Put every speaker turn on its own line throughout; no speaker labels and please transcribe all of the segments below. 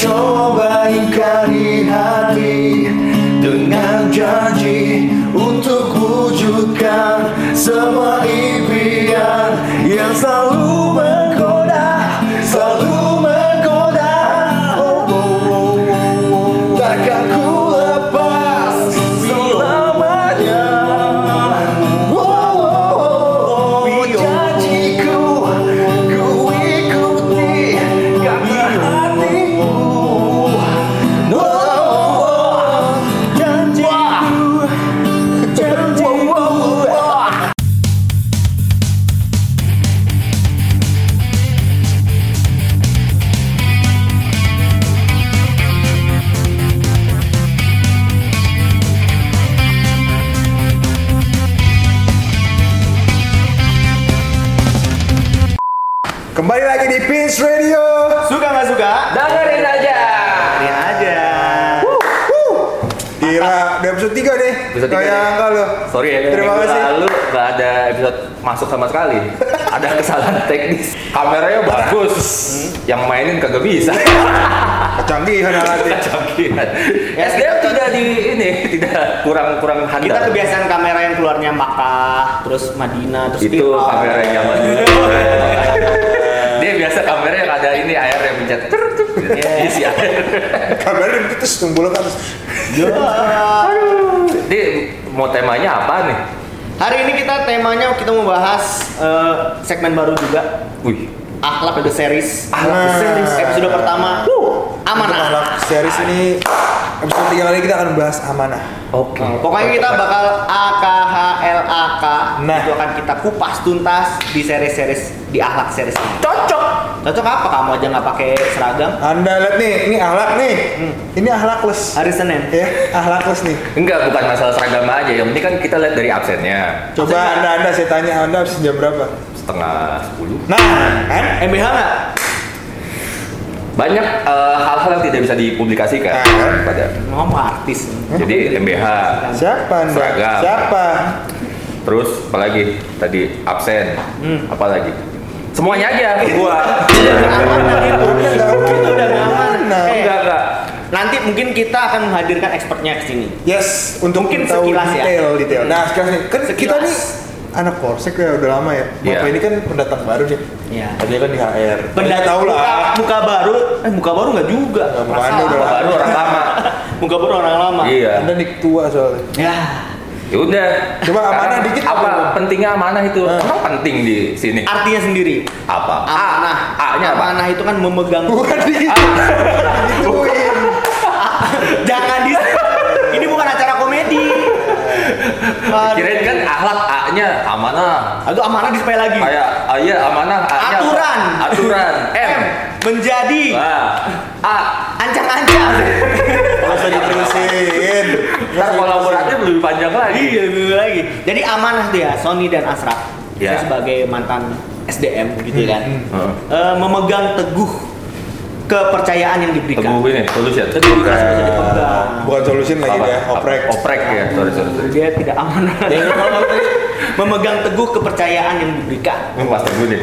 coba ingkari hati dengan janji untuk wujudkan semua impian yang selalu menggoda, selalu menggoda. Oh, oh, oh, oh, oh. Takkan ku lepas selamanya. Oh, oh, oh, oh. janjiku ku ikuti karena hatimu. Oh, oh, oh. janjiku, janjiku.
Kembali lagi di Pins Radio.
Suka nggak suka?
Dengerin aja.
Dengerin aja.
Gila, udah episode 3 deh.
Episode tiga
Kayak
deh.
enggak lo.
Sorry ya,
Terima
minggu
kasih.
lalu nggak ada episode masuk sama sekali. ada kesalahan teknis. Kameranya bagus, yang mainin kagak bisa.
Kecanggihan nanti.
Cangkihan. SDM tidak di ini, tidak kurang kurang handal.
Kita kebiasaan kamera yang keluarnya Makkah, terus Madinah, terus
itu
Irak.
kamera yang zaman dulu. Dia biasa kamera yang ada ini air yang pencet. Truk, truk, gitu. Isi air.
Kamera itu terus tumbuh ke atas.
Ini mau temanya apa nih?
Hari ini kita temanya kita mau bahas eh, segmen baru juga.
Wih,
Akhlak The Series.
Akhlak The Series.
Episode pertama. Wuh,
Untuk anak
amanah.
series ini episode 3 kali kita akan bahas amanah.
oke.
Pokoknya kita bakal AKHLAK
Nah.
itu akan kita kupas tuntas di series-series di akhlak series ini.
cocok.
Cocok apa kamu aja nggak pakai seragam?
Anda lihat nih, ini ahlak nih.
Hmm.
Ini ahlakless.
Hari Senin.
Ya, ahlakless nih.
Enggak, bukan masalah seragam aja. Yang penting kan kita lihat dari absennya
Coba
Maksudnya-
Anda Anda saya tanya Anda habis jam berapa?
setengah sepuluh.
Nah, kan?
MBH nggak?
Banyak eh, hal-hal yang tidak bisa dipublikasikan
Ah, kan?
pada.
Ngomong artis.
Jadi MBH,
Siapa Anda?
Seragam.
Siapa?
terus apalagi tadi absen, apalagi semuanya aja gua.
Anda nggak mau
Itu udah aman.
Mana?
Eh,
enggak enggak.
Nanti mungkin kita akan menghadirkan expertnya ke sini.
Yes, untuk
Mungkin
tahu
sekilas ya.
detail, detail. Nah, sekilas nih, kan
Sekilas.
kita nih anak polsek ya udah lama ya. Bapak
Iya.
ini kan pendatang baru nih.
Iya.
Tadinya kan di HR.
Benda
Pendatang tahu lah.
Muka, muka baru, eh muka baru nggak juga.
Nggak, muka
Perasaan.
Anda udah lama.
Baru orang lama.
Muka baru orang lama.
iya.
Anda nih tua soalnya.
Ya.
Ya udah.
Coba amanah
Sekarang
dikit
Apa
apa?
pentingnya amanah itu?
Eh.
Emang penting di sini.
Artinya sendiri.
Apa?
Amanah.
A-nya apa?
Amanah itu kan memegang.
Bukan di gituin.
Jangan di. Ini bukan acara komedi. Aduh.
Kirain kan akhlak A-nya amanah.
Aduh amanah di spell lagi.
Kayak ah, iya amanah A-nya apa?
Aturan.
Aturan. M.
Menjadi
Wah. A.
ancang-ancang.
Nggak usah diterusin.
Ntar
Iya.
kolaboratif lebih panjang lagi.
Iya, bener lagi. Jadi amanah tuh ya, Sony dan Asraf.
Ya. Hmm,
Saya sebagai mantan SDM gitu kan.
Heeh.
Eh, memegang teguh kepercayaan yang diberikan.
Teguh ini solution.
Nah, Bukan solution lagi
Apa?
deh, oprek.
Apa? Oprek ya. Sorry sorry. sorry.
Dia tidak amanah.
Ya.
memegang teguh kepercayaan yang diberikan.
Ini pas teguh nih.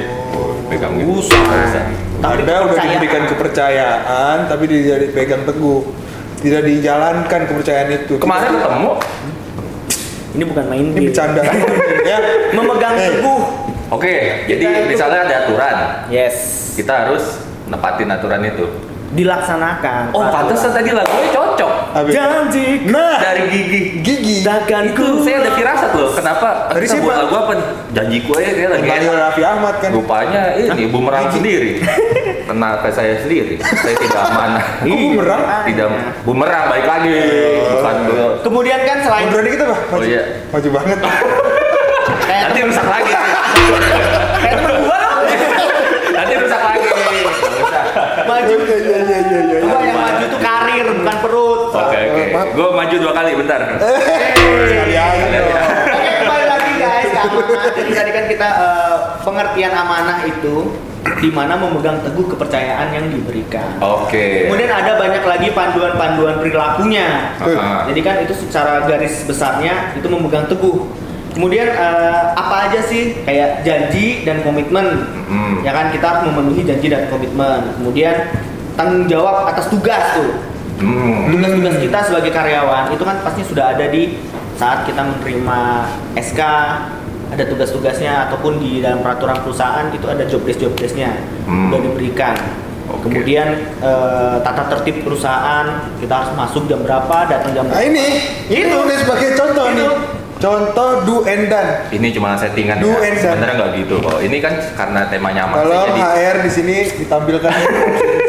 Pegang gitu.
Usah. Tapi
Anda udah
kepercayaan.
diberikan kepercayaan, tapi tidak dipegang teguh. Tidak dijalankan kepercayaan itu.
Kemarin ketemu.
Ini bukan main
ini
game.
bercanda. ya.
Memegang
Eh.
teguh.
Oke. Jadi
Kita itu-
misalnya ada aturan,
Yes.
kita harus nepatin aturan itu.
Dilaksanakan.
Oh, pantesan tadi lagunya cocok
Habis.
Janji.
Nah,
dari gigi.
gigi.
Takkan
Itu saya ada firasat loh. Kenapa?
Dari
Kita
siapa?
buat lagu apa nih? Janjiku aja dia lagi.
Kembali
enak.
Raffi Ahmad kan.
Rupanya ini bumerang sendiri. Kena ke saya sendiri. Saya tidak amanah.
Oh,
Iya,
Kok bumerang? Ah, iya. Oh,
Tidak bumerang balik lagi. Bukan ke
Kemudian kan selain
Mundur dikit apa? Maju.
Oh, iya.
Maju banget.
kayak
Nanti rusak lagi.
kayak temen gua
Nanti rusak lagi. Nggak usah.
maju
Iya iya iya iya iya.
gua yang maju tuh karir bukan perut Eh,
Oke Iya,
Maaf.
oke.
Eh, iya.
Gue maju dua kali bentar.
Sekali aja dong.
Oke kembali lagi guys ke amanah. Jadi tadi kan kita eh, pengertian amanah itu di mana memegang teguh kepercayaan yang diberikan.
Oke.
Kemudian ada banyak lagi panduan-panduan perilakunya.
Betul.
Ah.
Jadi kan itu secara garis besarnya itu memegang teguh. Kemudian eh, apa aja sih kayak janji dan komitmen?
Mm.
Ya kan kita harus memenuhi janji dan komitmen. Kemudian tanggung jawab atas tugas tuh
Hmm.
tugas-tugas kita sebagai karyawan itu kan pasti sudah ada di saat kita menerima SK ada tugas-tugasnya ataupun di dalam peraturan perusahaan itu ada job desk job desknya
Hmm.
sudah diberikan
Oke.
kemudian eh, tata tertib perusahaan kita harus masuk jam berapa datang jam
Nah
berapa
ini,
Itu.
ini udah sebagai contoh
Itu.
nih. Contoh do and done.
Ini cuma settingan
Do and
ya.
done.
Sebenarnya nggak gitu kok. Ini kan karena tema nyaman. sih,
Kalau
jadi
HR di sini ditampilkan.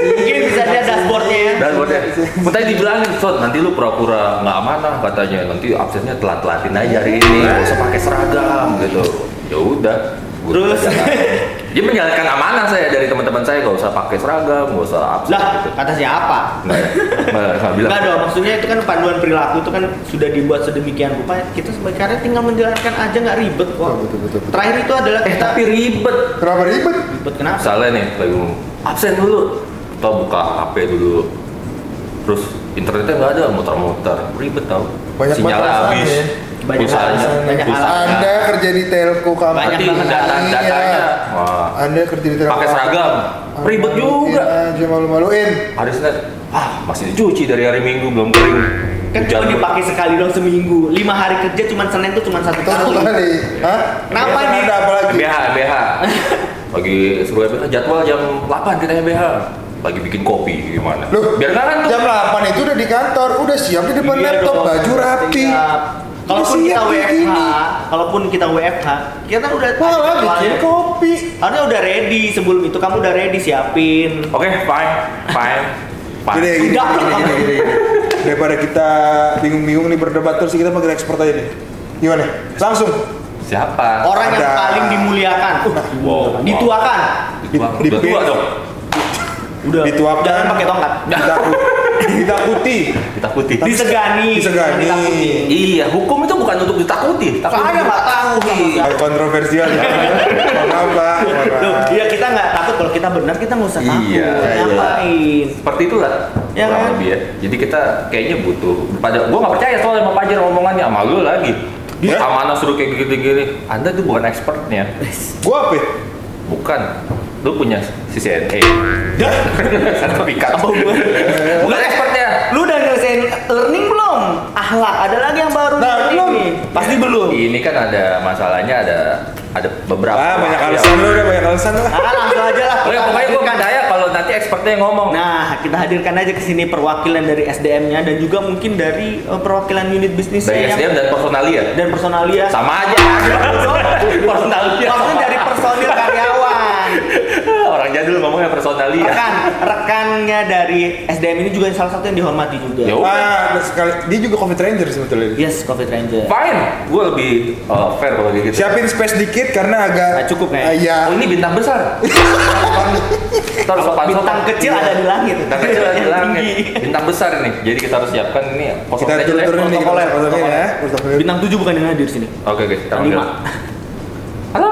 mungkin bisa lihat dashboardnya ya
dan buatnya, Makanya dibilangin, Sot, nanti lu pura-pura nggak amanah katanya. Nanti absennya telat-telatin aja hari ini. Nggak usah pakai seragam gitu. Ya udah. gua
Terus?
kerjakan. Dia menjalankan amanah saya dari teman-teman saya. Nggak usah pakai seragam, nggak usah absen.
lah
gitu.
kata siapa
Nggak ya? Nggak, nggak bilang.
Enggak dong, maksudnya itu kan panduan perilaku itu kan sudah dibuat sedemikian rupa kita sebagai karyawan tinggal menjalankan aja nggak ribet kok.
Oh, betul, betul, betul.
Terakhir itu adalah
Iya, Eh
kita
tapi ribet.
Kenapa ribet?
ribet kenapa?
Misalnya nih, lagi ngomong, absen dulu. Kita buka HP dulu. Terus internetnya nggak ada, muter-muter. Ribet tau.
Banyak
Sinyalnya
banget
habis.
alasannya.
ya. Banyak
Pulsanya,
alasan, banyak
pulsanya.
alasan.
Anda kerja di telco company.
Banyak Iya.
Nanti
banget
data
alasannya.
datanya. Wah.
Anda kerja di telco.
Pakai seragam.
company.
Ribet juga.
Iya, Aja malu-maluin.
Hari Senin, ah masih dicuci dari hari Minggu belum kering.
Kan cuma
Hujan.
dipakai sekali dong seminggu. Lima hari kerja cuma Senin tuh cuma satu
Kita satu
kali.
kali. Hah?
Kenapa
Biasa
nih?
Ada apa lagi?
BH, BH. Lagi suruh BH jadwal jam 8 kita BH. Lagi bikin kopi gimana?
Loh,
biar kan tuh.
jam 8 itu udah di kantor, udah siap di depan
Iya
laptop,
dong,
baju rapi.
siap. Kalaupun
Udah
kita
siap kayak
WFH,
gini.
kalaupun kita WFH, kita udah
Malah bikin
jadwalnya.
kopi.
Harusnya udah ready sebelum itu kamu udah ready siapin.
Oke, fine, fine, fine.
Gini, gini,
Enggak.
gini, gini, gini, gini. Daripada kita bingung-bingung nih berdebat terus kita panggil expert aja nih. Gimana? Langsung
Siapa?
Oh,
Orang yang
Ada.
paling dimuliakan, Uh,
Wow.
dituakan.
Dituang.
Di- di-
Berdua dong.
Udah.
Dituakan.
Jangan pakai tongkat.
ditaku- ditakuti.
Ditakuti.
Disegani.
Disegani.
Ditakuti.
Iya, hukum itu bukan untuk ditakuti. Takuti
Saya nggak tahu sama sekali.
Agak kontroversial ya. Maaf, Pak.
Loh,
Maaf.
iya kita nggak takut kalau kita benar kita nggak usah takut.
Iya, iya.
Ngapain?
seperti itulah
Ya
kurang
kan?
lebih ya. Jadi kita kayaknya butuh pada gua nggak percaya soalnya sama Pajar omongannya sama lu lagi.
Ya?
Iya.
Sama anak suruh kayak gini-gini. Anda tuh bukan expertnya.
Gua apa? ya?
Bukan. Lu punya CCNA.
Dah, Oh,
Sertifikat.
apa hubungan?
bukan expertnya.
Lu udah nyelesain learning belum? Ahlak, ada lagi yang baru
Nah,
nih.
belum.
Pasti belum.
Ini kan ada masalahnya ada ada beberapa. Iya.
Ah, banyak alasan lu udah banyak alasan lah.
Nah, langsung aja lah.
Oh, ya,
kita
pokoknya gua
hadirkan.
percaya kalau nanti expertnya yang ngomong.
Nah, kita hadirkan aja ke sini perwakilan dari SDM-nya dan juga mungkin dari eh, perwakilan unit bisnisnya
Dari
yang-
SDM dan personalia.
dan personalia.
Sama aja. personalia.
Maksudnya dari personil karyawan.
Orang jadul ngomongnya personalia.
Rekan, rekannya dari SDM ini juga salah satu yang dihormati juga.
Yo.
Ah, sekali. Dia juga Covid Ranger sebetulnya.
Yes, Covid Ranger.
Fine, gue lebih uh, fair kalau kayak gitu.
Siapin space dikit karena agak
Nah, cukup, Nek.
Ah, Iya.
Oh ini bintang besar. Terus sopan
Bintang kecil ada di langit.
Iya. Bintang kecil ada di
Yang
langit.
tinggi.
Bintang besar nih. Jadi kita harus siapkan ini.
Kita
Protokolnya jelek,
turunin nih
protokolnya,
protokolnya
protokolnya.
ya. Protokolnya.
Bintang 7 bukan yang hadir sini.
Oke oke. kita panggil.
Lima.
Halo.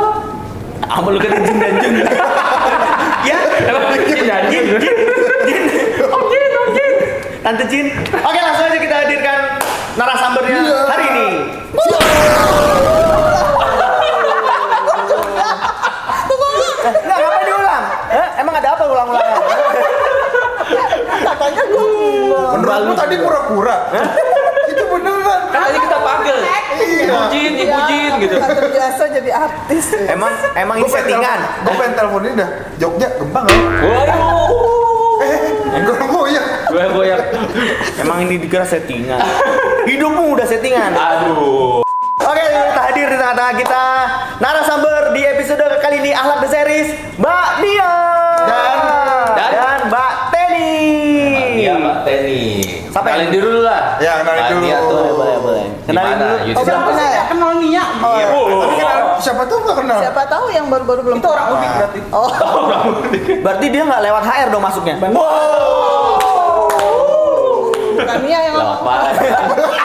Apa lu kan jin dan jun? ya,
Emang bikin janji.
jin, jin, jin. Om Jin, Om Jin. Tante Jin. Oke, langsung aja kita hadirkan narasumbernya
Iya.
hari ini. Enggak, Eh, ngapain diulang? Hah? Emang ada apa ulang-ulangan? Katanya gue
Menurut lu tadi pura-pura. Itu beneran.
Kan tadi kita panggil.
Iya.
Ibujin, ibujin gitu.
Gak terbiasa jadi artis.
Emang emang ini
Gua pengen
settingan.
telepon- Gua pengen telepon ini dah. Jogja gembang Eh, ya.
Waduh.
Enggak goyang.
Gue goyang.
Emang ini dikira settingan. Hidupmu udah settingan.
Aduh.
Oke, kita hadir di tengah-tengah kita narasumber di episode kali ini Ahlak The Series, Mbak Dia
Dan-
dan,
dan-
Mbak Teni.
Iya Pak Teni.
Siapa
Kenalin
yang-
diri dulu lah.
Ya, kenalin dulu.
Iya tuh.
Boleh, boleh,
boleh. Kenalin
Kenalin
dulu.
dulu.
Oh, belum kenal, ya? kenal Nia.
Oh,
Iya.
tapi kenal- Siapa tuh enggak kenal?
Siapa tahu yang baru-baru belum Itu orang
unik berarti.
Oh,
Berarti dia nggak lewat HR dong masuknya.
bukan Nia yang
Lewat mana?
ngomong.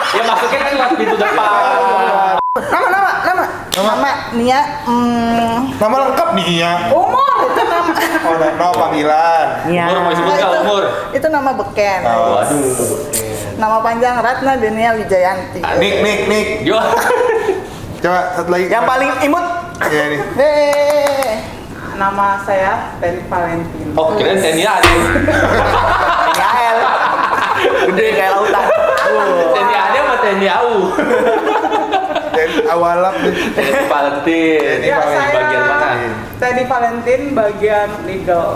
ya masuknya kan lewat pintu depan.
Nama, nama, nama. Nama Nia, hmm,
Nama lengkap nih ya.
umur itu nama.
Oh, no, no panggilan.
Iya.
Umur mau sebut nggak
itu,
umur?
itu nama beken.
Oh,
Waduh.
Nama panjang Ratna Denia Wijayanti.
Ah,
Nik, nik, nik.
Yo.
Coba satu lagi.
Yang paling imut
Iya nih.
Hei.
nama saya Penny Valentin.
Oh, kira TNI ada.
Mikael gede kayak lautan
TNI ada sama TNI AU.
Dan awalap nih.
TNI Valentin.
TNI
Ya, saya
bagian mana?
Penny Valentin bagian legal.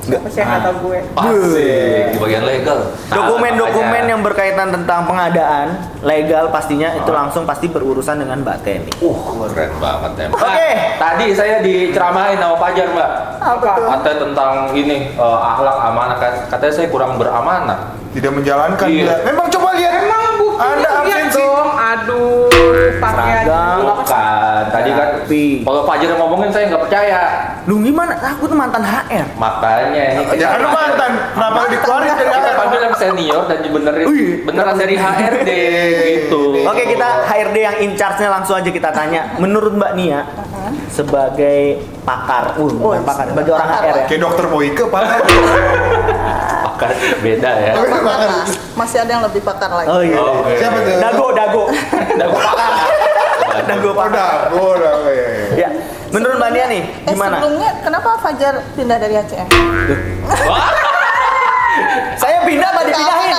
Siapa sih yang
Ah.
kata gue?
Asik, di bagian legal. Nah,
dokumen-dokumen
makanya.
yang berkaitan tentang pengadaan legal pastinya itu langsung pasti berurusan dengan Mbak Teni
uh keren banget ya. Mbak.
Oke.
Tadi saya diceramahin sama Pajar, Mbak.
Apa?
Katanya tentang ini eh, ahlak amanah. Kat- Katanya saya kurang beramanah.
Tidak menjalankan
Iya.
kan dia. Memang coba lihat.
Emang bukti
Anda
lihat
absensi.
dong. Aduh, pakaian.
Seragam,
Bukan. Tadi kan
Tapi.
kalau Pajar yang ngomongin saya nggak percaya.
lu gimana aku tuh mantan HR
Makanya ini kita,
Jangan lu Ya. mantan. Kenapa lu dikeluarin dari
kita
AR?
panggil yang senior dan benerin beneran dari HRD gitu.
Oke kita HRD yang in charge-nya langsung aja kita tanya. Menurut Mbak Nia sebagai pakar, uh, bukan
Oh,
pakar, sebagai orang HR ya.
Kayak dokter Boyke parah.
Pakar beda ya.
Pakar, Kak. masih ada yang lebih pakar lagi.
Oh iya.
Oke.
Siapa tuh?
Dago, dago,
Dago pakar.
dago
Oh,
pakar.
dago, dago, ya, ya.
Ya. Menurut Mbak Nia nih,
Eh
gimana?
sebelumnya kenapa Fajar pindah dari ACM?
Saya pindah apa dipindahin?
ya?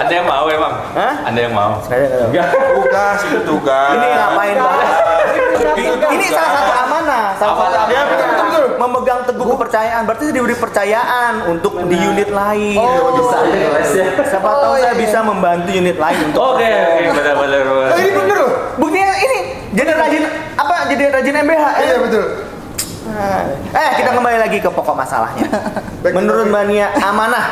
Anda yang mau emang?
Hah?
Anda yang mau?
Saya nggak tahu.
Tugas, itu tugas.
Ini ngapain banget?
Itu
Ini
tugas.
salah satu amanah, salah satu
Amanah.
Ya, betul, betul, betul.
memegang teguh kepercayaan. Berarti diberi percayaan untuk di unit lain.
Oh,
Bisa.
iya. Oh.
Siapa tahu
Oh, iya,
saya
iya.
bisa membantu unit lain untuk
Oke, oke, benar-benar.
Oh,
Eh, ini bener loh.
Buktinya ini jadi rajin apa jadi rajin MBH. Eh,
Iya betul.
eh, kita kembali lagi ke pokok masalahnya.
Baik,
Menurut
kita-
Mbak Nia, amanah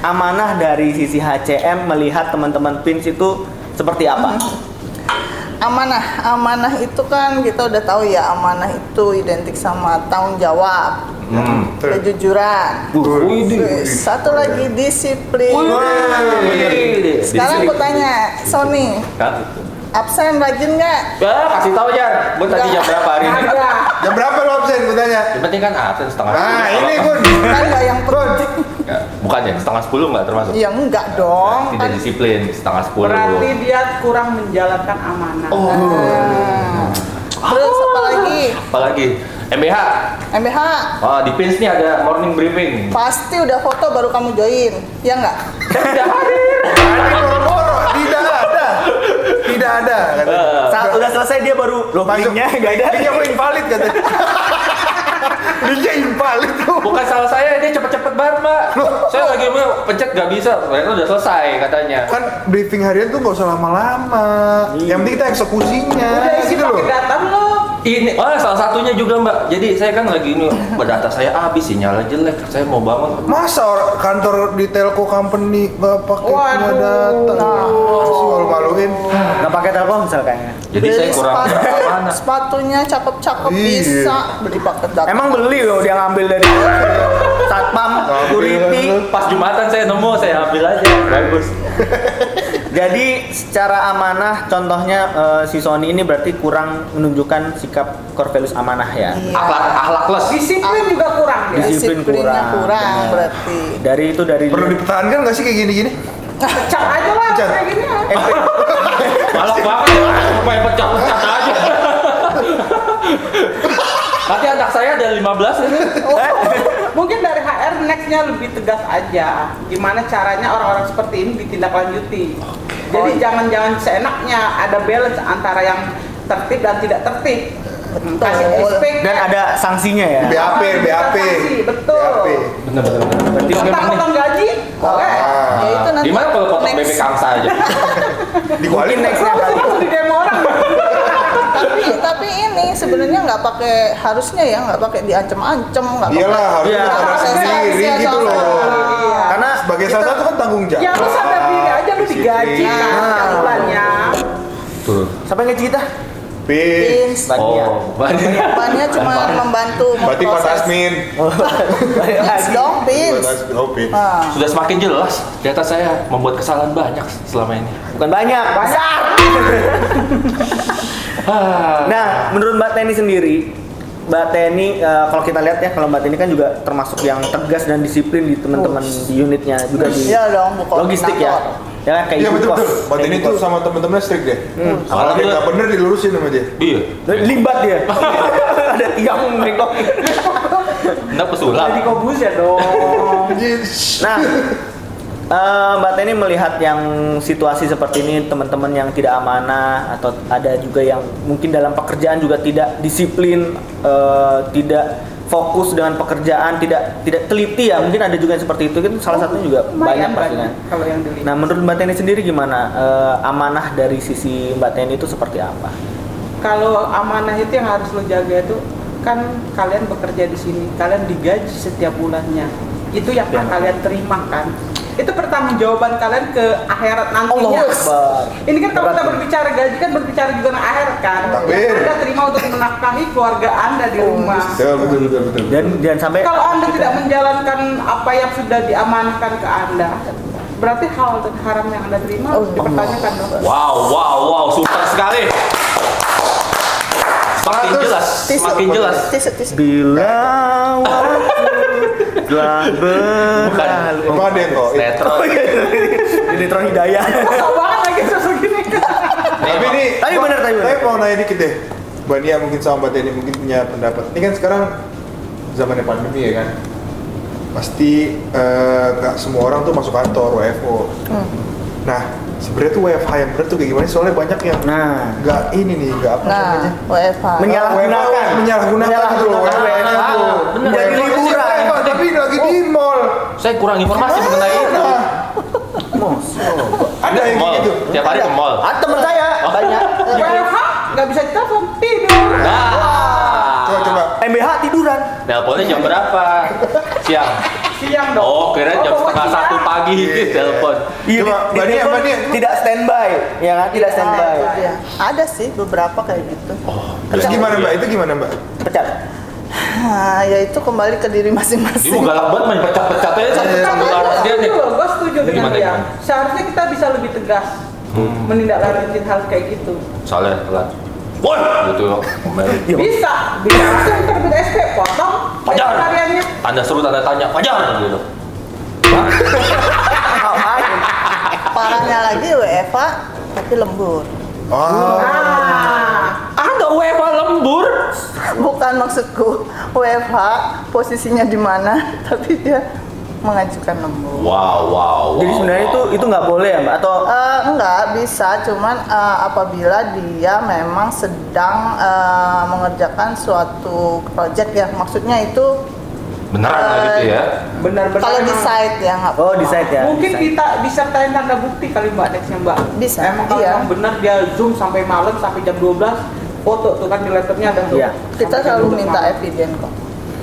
amanah dari sisi HCM melihat teman-teman pins itu seperti apa?
Amanah, amanah itu kan kita udah tahu ya amanah itu identik sama tanggung jawab,
Hmm.
kejujuran. Terus Satu lagi disiplin. Sekarang aku tanya, Sony, absen rajin nggak?
Ya, kasih tahu Jar. Gue tadi jam berapa hari ini?
Nah,
Jam berapa lo absen? Gue tanya.
Yang penting kan absen setengah
Nah,
sepuluh.
ini
Apa-
Gun.
Kan nggak yang penting.
Ya, Bukan ya, setengah sepuluh nggak termasuk?
Ya enggak dong.
Tidak
Kan
disiplin, setengah sepuluh.
Iya. Berarti dia kurang menjalankan amanah.
Oh.
Nah. Terus apa lagi?
Apalagi MBH,
MBH
ah, di pins nih ada morning briefing.
pasti udah foto baru kamu join, ya nggak?
Ini boro-boro. Tidak ada. Tidak ada. Kata.
Saat udah selesai dia baru loh
Masuk.
linknya nggak ada.
Linknya gue invalid katanya. Linknya invalid tuh.
Bukan salah saya, dia cepet-cepet banget mbak. Saya lagi mau pencet nggak bisa, ternyata udah selesai katanya.
Kan briefing harian tuh gak usah lama-lama. Yang penting kita eksekusinya.
Iya. Udah isi
Gitu loh.
pakai data lo.
Ini, ah salah satunya juga mbak. Jadi saya kan lagi ini, data saya habis, sinyalnya jelek, saya mau bangun.
Masa or- kantor di telco company gak pakai punya
Waduh.
data? Masa sih maluin.
Nggak pakai Telkomsel kayaknya.
Jadi saya kurang
sepatu,
mana?
sepatunya cakep-cakep
Iya.
bisa beli paket data.
Emang beli loh dia ngambil dari satpam, security.
Pas jumatan saya nemu, saya ambil aja. Bagus.
Jadi secara amanah, contohnya eh, si Sony ini berarti kurang menunjukkan sikap core values amanah ya.
Iya. Ah.
Akhlak, akhlak plus.
Disiplin juga kurang ya? dia.
Disiplin
Disiplinnya
kurang,
kurang
benar.
berarti.
Dari itu dari
Perlu dipertahankan gak sih kayak gini-gini?
Pecat aja lah
Pecat.
kayak gini. ya.
Malah banget ya, main pecat-pecat aja. Nanti anak saya ada 15 ini.
Oh,
Eh?
Mungkin dari HR nextnya lebih tegas aja. Gimana caranya orang-orang seperti ini ditindaklanjuti. Jadi jangan-jangan seenaknya ada balance antara yang tertib dan tidak tertib. Kasih respect. eh,
dan ada sanksinya ya.
BAP, BAP.
Betul.
Bener-bener. Berarti memang nih.
Utang-utang gaji, boleh.
Ah. Ya itu nanti.
Gimana kalau potong
next.
bebek angsa aja?
Di kuali
Langsung langsung di demo orang.
Tapi tapi ini sebenarnya nggak pakai harusnya ya nggak pakai diancem-ancem nggak. pakai-
Iyalah harusnya
Iya.
sadar
Iya,
sendiri
iya,
gitu
iya.
loh.
Iya.
Karena sebagai salah satu kan tanggung jawab.
Ya lu sadar diri aja lu digaji
Disiplin. Nah,
Ah.
kan setiap bulannya.
Tuh.
Siapa yang ngaji kita?
Pin.
Pins.
ya.
Oh, banyak.
Bannya cuma membantu
Berarti Pak Tasmin.
Iya,
Pins dong, pins.
Oh, Pin.
Ah.
Sudah semakin jelas, ternyata saya membuat kesalahan banyak selama ini.
Bukan banyak.
Banyak.
Ah.
Nah, menurut Mbak Teni sendiri, Mbak Teni eh, kalau kita lihat ya, kalau Mbak Teni kan juga termasuk yang tegas dan disiplin di teman-teman di unitnya juga di
Iya dong, bukan
logistik ya. Ya kan kayak
Iya
ibu
betul
kos.
betul. Mbak
Kayak gitu.
Tini
ibu
tuh
kos.
sama temen-temennya strict deh. Kalau
Soalnya
dia
gua-
nggak bener dilurusin sama dia.
Iya.
Limbat dia. Ada tiang bengkok.
Nggak pesulap.
Jadi kobus ya dong.
Nah, eh, Mbak Teni melihat yang situasi seperti ini teman-teman yang tidak amanah atau ada juga yang mungkin dalam pekerjaan juga tidak disiplin, eh, tidak fokus dengan pekerjaan, tidak tidak teliti ya. Mungkin ada juga yang seperti itu. Kan salah satunya juga banyak
Lumayan
pasti kan.
kalau yang dulu.
Nah, menurut Mbak Teni sendiri gimana Eh, amanah dari sisi Mbak Teni itu seperti apa?
kalau amanah itu yang harus lo jaga itu kan kalian bekerja di sini, kalian digaji setiap bulannya. Itu yang
Ya.
kalian terima kan. Itu pertanggungjawaban kalian ke akhirat nantinya.
Allahu Akbar.
Ini kan kalau
Berat
kita
ini.
berbicara gaji kan berbicara juga tentang akhirat kan.
Takbir.
Anda terima untuk menafkahi keluarga Anda di
Oh,
rumah.
Ya, betul, betul, betul.
Dan dan sampai
Kalau Anda tidak menjalankan apa yang sudah diamanahkan ke Anda, berarti hal dan haram yang Anda terima harus dipertanyakan dong.
Wow, wow, wow, super sekali. Semakin
Seratus.
jelas, semakin jelas.
Tisu, tisu.
bila waktu telah
Eh,
Bukan,
berlalu.
Itu ada yang kok.
Netron.
iya.
Ini Tron Hidayah.
Kesel banget lagi sosok gini.
Tapi ini,
Tapi benar, tapi benar.
Tapi mau nanya dikit deh. Mbak Nia mungkin sama Mbak Teni mungkin punya pendapat. Ini kan sekarang zamannya pandemi ya kan. Pasti eh, nggak semua orang tuh masuk kantor WFO.
Hmm.
Nah, sebenarnya tuh WFH yang benar tuh kayak gimana? sih? Soalnya banyak yang
Nah,
nggak ini nih, nggak apa namanya.
Nah, WFH.
menyalahgunakan,
WFH, menyalahgunakan gitu loh,
menyalahgunakan
WFH.
WFH.
Bener.
Masih
Menjadi E. liburan.
WFH, tapi lagi di mall.
Saya kurang informasi mengenai itu.
Nah, Ada yang kayak
Mall.
gitu.
Tiap hari ke mall. Oh.
Ah, temen saya banyak.
WFH nggak bisa ditelepon tidur.
Nah.
Coba coba.
MBH tiduran.
Teleponnya jam berapa? Siang.
Siang dong.
Oh, kira jam
bawa
setengah
siang.
satu pagi itu
Iya.
telepon.
Iya,
Coba,
di- di
Mbak Nia,
telepon
Mbak Nia.
tidak standby, ya kan? Tidak standby.
Nah, iya. Ada sih beberapa kayak gitu.
Oh,
Terus gimana Mbak? Itu gimana Mbak?
Pecat.
Nah, ya itu kembali ke
Dia
diri
mau
masing-masing.
galak banget main pecat-pecat
Iya,
aja satu
Tapi
satu
gue
arah dia
setuju
nih.
loh, gue setuju dengan
Gimana,
dia.
gimana? Hmm.
Seharusnya kita bisa lebih tegas menindaklanjutin hal kayak gitu.
Soalnya telat. Woi, gitu komen.
Iya.
Bisa, bisa langsung terbit SP potong
Pajar.
hariannya.
Tanda seru tanda tanya. Pajar gitu.
Parahnya lagi WFH tapi lembur.
Oh,
Nah,
Ah, enggak WFH lembur.
Bukan maksudku WFH posisinya di mana, tapi dia mengajukan lembur.
Wow, wow, wow.
Jadi sebenarnya itu itu nggak boleh ya, Mbak? Atau
Eh, enggak bisa, cuman eh, apabila dia memang sedang eh, mengerjakan suatu project ya, maksudnya itu
beneran lah gitu ya.
benar-benar.
kalau di
emang-
site ya nggak
oh di site ya.
Mungkin
di site.
kita disertain tanda bukti kali Mbak Dexnya Mbak.
Bisa,
Emang kalau
iya.
emang benar dia zoom sampai malam sampai jam 12 foto tuh kan di laptopnya ada tuh.
Iya.
Sampai
kita
jam 12
selalu minta
malam.
evidence kok.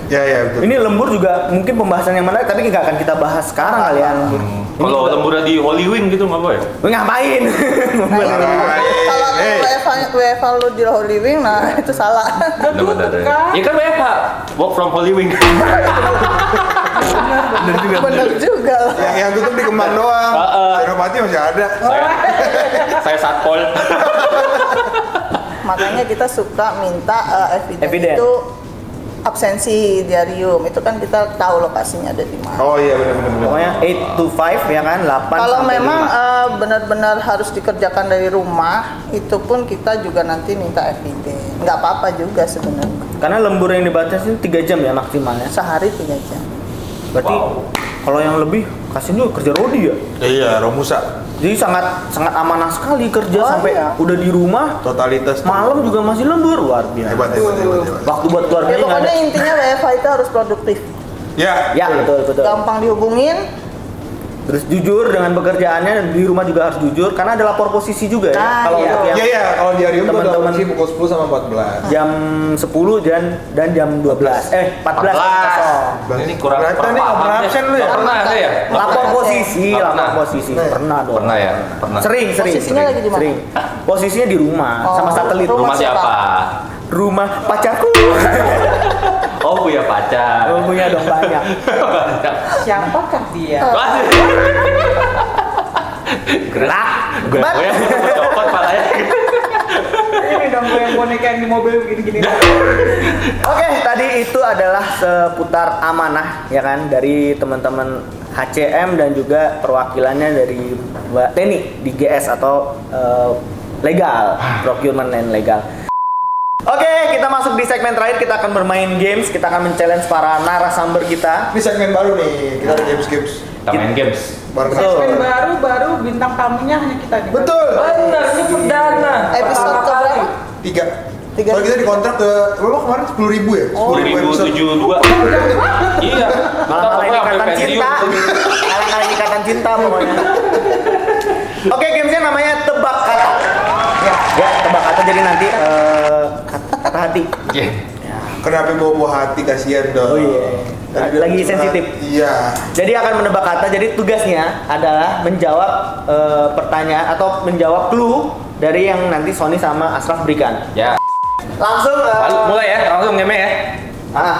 ya ya betul.
Ini lembur juga mungkin pembahasan yang menarik, tapi nggak akan kita bahas sekarang kali ya. lembur. Ini
Hmm. Kalau
juga-
lemburnya di Holy Wing gitu nggak boleh.
ngapain?
Nah, iya.
Kalau
Hey.
WFH WFH lu di Holy Wing, nah itu salah.
Udah tutup kan.
Ya kan WFH. Work from Holy Wing.
Bener juga lah.
Yang, yang tutup di Kemang doang.
Heeh.
Senopati masih ada.
saya saya satpol.
Makanya kita suka minta uh, evidence,
Evidence.
itu absensi diarium. Itu kan kita tahu lokasinya ada di mana.
Oh iya benar benar benar.
Pokoknya 8 to 5 ya kan, 8
Kalau
sampai
memang
5.
uh, benar-benar harus dikerjakan dari rumah, itu pun kita juga nanti minta evidence. Nggak apa-apa juga sebenarnya.
karena lembur yang dibatasi 3 jam ya maksimalnya.
Sehari tiga jam.
Berarti
Wow.
kalau yang lebih kasihan juga kerja Rodi ya.
Iya, Romusa
Jadi sangat sangat amanah sekali kerja
Oh,
sampai
iya.
udah di rumah,
totalitas tuh.
malam juga masih lembur luar biasa.
hebat hebat hebat. hebat.
Waktu buat keluarga
Ya
nggak ada.
pokoknya intinya WFH itu harus produktif.
Ya,
Ya betul betul.
Gampang dihubungin.
Terus jujur dengan pekerjaannya dan di rumah juga harus jujur karena ada lapor posisi juga ya.
Ah,
kalau
iya.
untuk yang
Iya iya, kalau di Arium tuh udah
Teman-teman.
kunci pukul 10 sama 14.
jam 10 dan dan jam 12 eh
14.
14,
Ini kurang
Berarti
kurang
ini
paham
over
deh.
absen lu ya?
Nggak Pernah ada ya?
kosong. Lapor posisi,
Nggak
lapor
pernah.
posisi.
Nggak.
Pernah dong.
Pernah ya? Pernah.
Sering, sering.
Iya. Posisinya
sering,
lagi di mana?
sering. Posisinya di rumah
Oh,
sama satelit.
rumah
Rumah siapa?
Rumah pacarku.
Oh punya pacar.
Oh, punya dong banyak.
Pacar.
Siapakah dia?
Oh.
Wah. Gerak.
Gerak.
Gue yang copot palanya.
ini dong gue yang boneka yang di mobil gini-gini
Oke, tadi itu adalah seputar amanah ya kan dari teman-teman HCM dan juga perwakilannya dari Mbak Teni di GS atau eh, legal procurement and legal. Oke, kita masuk di segmen terakhir. Kita akan bermain games. Kita akan men-challenge para narasumber kita.
Ini segmen baru nih, kita ada games games
Kita main games.
bareng
Betul.
Segmen baru baru bintang tamunya hanya kita nih.
Betul.
Bener, ini perdana.
Episode
Pertama
keberapa?
kali.
tiga.
Tiga.
Kalau kita dikontrak ke berapa kemarin sepuluh ribu
Oh.
ya?
Sepuluh ribu
episode.
tujuh dua. Iya.
Malah kalian
Pokoknya sampai
ikatan cinta.
pensiun.
Malah kalian ikatan cinta pokoknya. Oke, gamesnya namanya tebak kata. Ya, ya, tebak kata jadi nanti eh, kata, kata hati.
Iya.
Kenapa bawa bawa hati kasihan dong?
Oh, iya.
Tadi
Lagi
bilang,
sensitif.
Iya.
Jadi akan menebak kata. Jadi tugasnya adalah menjawab eh, pertanyaan atau menjawab clue dari yang nanti Sony sama Asraf berikan.
Ya.
Langsung. eh,
Lalu mulai ya, langsung ngeme ya.
ah,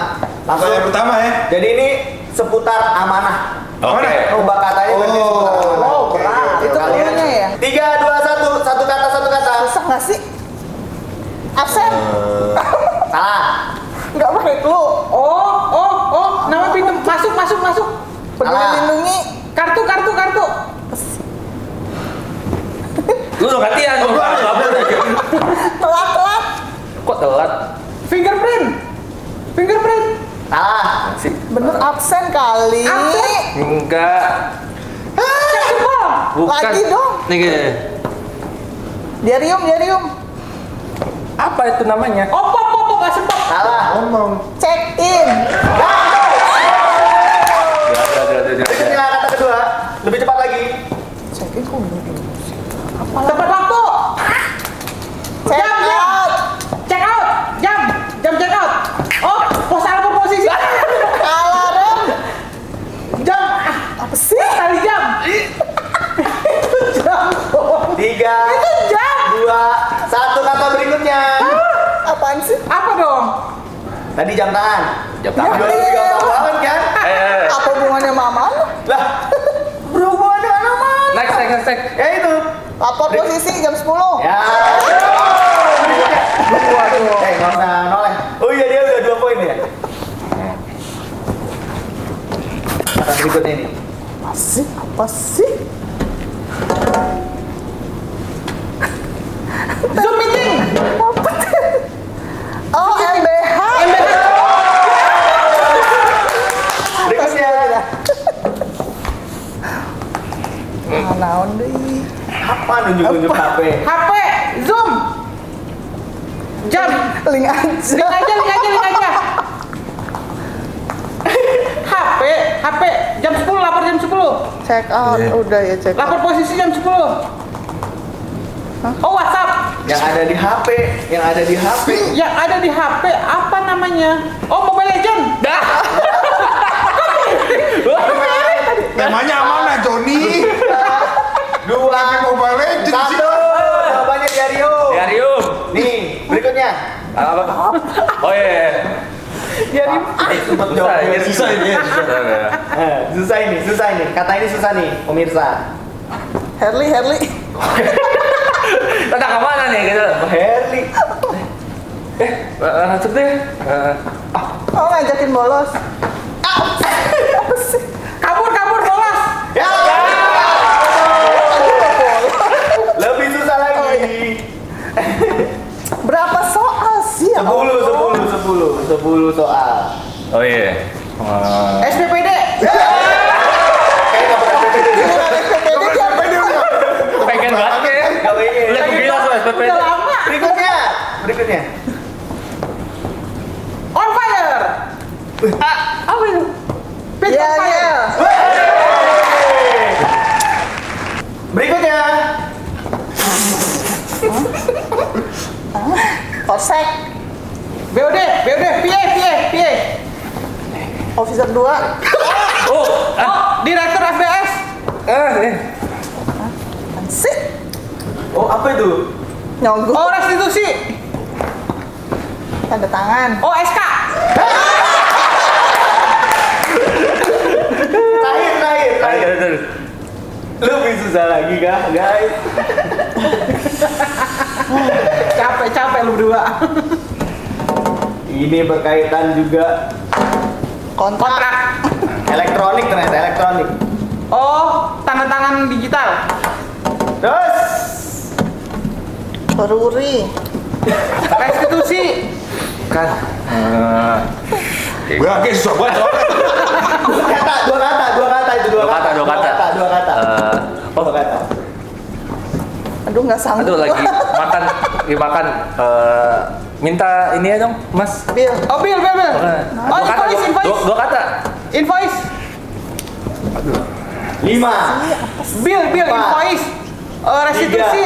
langsung.
Pertanyaan pertama ya.
Jadi ini seputar amanah.
Oke.
Rubah katanya berarti seputar amanah.
Oh,
Oh, berat. Itu
Kalian
cluenya ya?
tiga dua satu satu kata satu kata
Susah nggak sih? Absen?
salah
Nggak pakai clue.
Oh, oh, oh, nama pintu masuk, masuk, masuk.
Peduli
Salah.
lindungi.
Kartu, kartu, kartu.
Lu udah gantian.
Oh,
lu udah kabur.
Telat, telat.
Kok telat?
Fingerprint. Fingerprint.
salah
Bener absen kali.
Absen.
Enggak.
Cek jempol.
Bukan.
Lagi dong.
Nih gini.
Diarium, diarium.
Apa itu namanya?
Ya.
Opo, opo, opo, nggak sempat.
salah
Ngomong.
Check in.
Jelas, jelas, jelas, jelas,
berikutnya
jelas.
kata kedua lebih cepat lagi
Check in kok belum ini?
Tepat waktu.
Check
Jam, jam.
out.
Check out. Jam. Jam check out. Oh, pos apa posisi?
Kalah, Rem.
Jam.
Apa sih?
Tali jam. Itu jam. dong.
tiga
Itu jam.
dua satu kata berikutnya
Apaan sih?
Apa dong?
tadi jam tangan
Jam tangan.
Jauh lebih gampang banget kan
Eh, eh, eh.
Apa hubungannya mama?
lah berhubungan dengan apa
Next, next, next, next.
ya itu
Apa posisi jam 10?
ya Waduh, eh nggak usah noleh. Oh iya dia udah dua poin ya. Kata berikutnya ini.
Apa sih? Apa sih?
Zoom meeting.
Apa sih? Oh, MBH.
Berikutnya.
Ah, Naon deh.
Apa nunjuk-nunjuk HP?
HP, Zoom, jam,
Link aja.
link aja, link aja, link aja. HP, HP, jam 10, lapor jam 10.
Check out. Udah ya check
Lapor
out.
posisi jam 10. Oh, WhatsApp.
Yang ada di HP, yang ada di HP.
Yang ada di HP apa namanya? Oh, Mobile Legend. Dah.
Temanya amanah Joni.
Dua,
Pakai Mobile Legends.
satu. Oh, Jawabannya Diario.
Diarium.
Nih, berikutnya.
Apa? Oh iya. iya. Ah,
Diario. Cepet
Susah
jawab.
ini, susah ini. Susah, ya.
Eh, Susah ini, susah ini. Kata ini susah nih, pemirsa.
Herli, Herli.
Tentang kemana nih gitu?
Herli.
Eh, Langsung deh. Eh,
Oh, ngajakin bolos. Ah, Apa sih?
Kabur, kabur, bolos.
Ya. Lebih susah
Oh, iya.
lagi.
Berapa soal sih? ya?
Sepuluh, sepuluh, sepuluh, sepuluh soal.
Oh iya. Eh,
SPPD.
Kayaknya nggak pernah PPT deh.
Giliran SPPD dia
pengen banget ya.
Nggak pengen.
Udah gila tuh SPP.
Udah lama.
Berikutnya, berikutnya.
On fire. Ah, apa itu? Pitch
Iya,
on fire.
iya.
Berikutnya,
Korsek.
BOD, BOD, PA, PA, PA.
Officer 2.
Oh, Direktur FBS.
Sih.
oh apa itu?
Nyogok.
Oh, restitusi.
Tanda tangan.
Oh, SK.
Terakhir, terakhir, terakhir. Lebih susah lagi kah, guys?
Capek-capek lu berdua.
Ini berkaitan juga
Kontrak.
Kontrak.
elektronik ternyata elektronik.
Oh, tanda tangan digital.
Terus
Peruri.
restitusi
kan gue agak susah banget soalnya.
kata dua kata dua kata itu dua,
Dua kata, dua kata.
dua kata
Eh,
oh dua kata
Aduh nggak sanggup.
Aduh lagi makan, lagi makan. Eh, minta ini ya dong, Mas.
Bill.
oh bill bill bill
Eh,
oh
dua kata, dua-
invoice
dua-
invoice
dua kata.
invoice
lima
bill bill
Empat.
invoice Eh, restitusi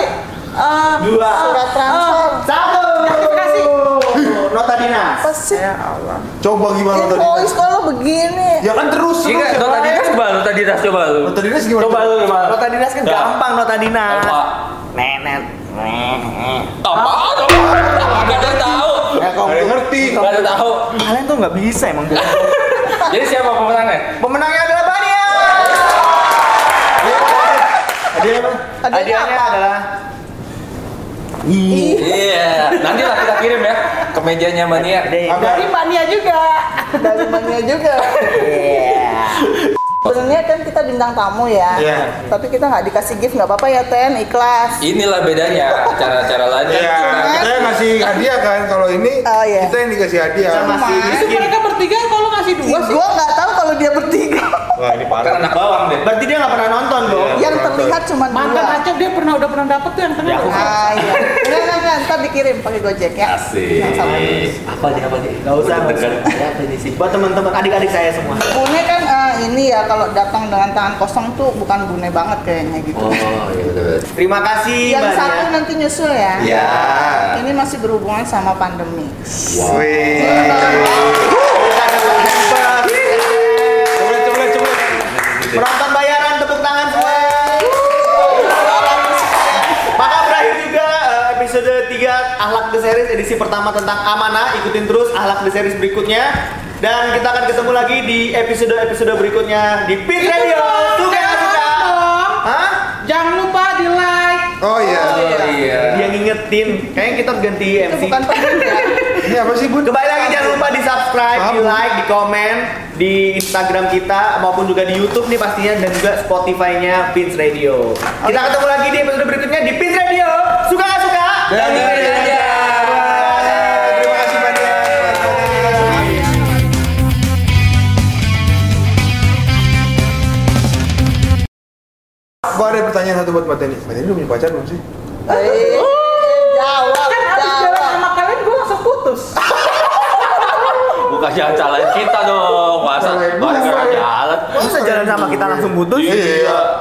eh,
Dua.
eh,
Surat transfer.
eh,
satu
Notifikasi.
Oh, nota dinas
Apa sih?
Ya, coba gimana tuh
Invoice kalau begini.
ya kan terus
Iya,
terus
nggak?
ya
nota dinas coba, nota dinas coba lu.
Nota dinas gimana?
Coba lu gimana?
nota dinas kan
Ya.
gampang nota dinas
Apa?
nenet
Apa? Gak ada yang tahu.
Nggak ada yang ngerti
Gak ada yang tahu.
kalian tuh nggak bisa emang
Jadi siapa pemenangnya?
pemenangnya adalah Bania
Hadiah
kan
apa?
hadiahnya adalah
Iya. Nanti lah kita kirim ya ke mejanya mania.
Apa?
dari mania juga
Dari mania juga.
Iya.
Sebenarnya kan kita bintang tamu ya.
Iya.
Tapi kita nggak dikasih gift nggak apa-apa ya Ten ikhlas.
Inilah bedanya acara-acara lain.
Iya, kita yang ngasih hadiah kan kalau ini
Oh, iya.
kita yang dikasih hadiah.
itu mereka bertiga kalau ngasih dua sih
Gue nggak tahu kalau dia bertiga.
Wah, ini
Kan anak bawang deh.
berarti dia nggak pernah nonton dong
Iya.
Yang terlihat cuma
mantan
dua.
acap dia pernah udah pernah dapet tuh yang tengah
Ah iya. Enggak enggak enggak. Ntar dikirim pakai gojek ya.
Asik.
Yang sama.
Apa dia apa dia?
Nggak usah, nggak usah.
Ada apa ini sih?
buat teman-teman adik-adik saya semua
Bune kan eh, ini ya kalau datang dengan tangan kosong tuh bukan bune banget kayaknya gitu.
Oh, iya betul.
terima kasih
Yang
Iya, Mbak Nia.
satu nanti nyusul ya.
Iya.
Ini masih berhubungan sama pandemi.
Kita ada Mbak Hemper.
Coba coba coba.
penonton bayaran tepuk tangan semua maka berakhir juga eh, episode 3 Ahlak The Series edisi pertama tentang amanah ikutin terus Ahlak The Series berikutnya dan kita akan ketemu lagi di episode-episode berikutnya di Pit Radio suka nggak suka Hah?
jangan lupa di like
Oh iya.
Oh,
dia
iya.
ngingetin kayaknya kita harus ganti Iya,
Itu
MC
bukan pandemi ya.
Ini apa sih, Bun?
Kembali lagi jangan lupa di subscribe, di like, di komen di Instagram kita maupun juga di YouTube nih pastinya dan juga Spotify-nya Pins Radio. Kita ketemu lagi di episode berikutnya di Pins Radio. Suka nggak suka?
Dan dengerin aja.
Terima kasih banyak. Gua ada pertanyaan satu buat Mbak Teni. Mbak Teni udah punya pacar belum sih?
Eh, Jawab,
kan
Iya.
abis jalan
jawab.
sama kalian gue langsung putus
Bukan jangan salahin kita dong. Masa
Salahin gua.
gara-gara jalan.
Masa jalan sama kita langsung putus?
Iya.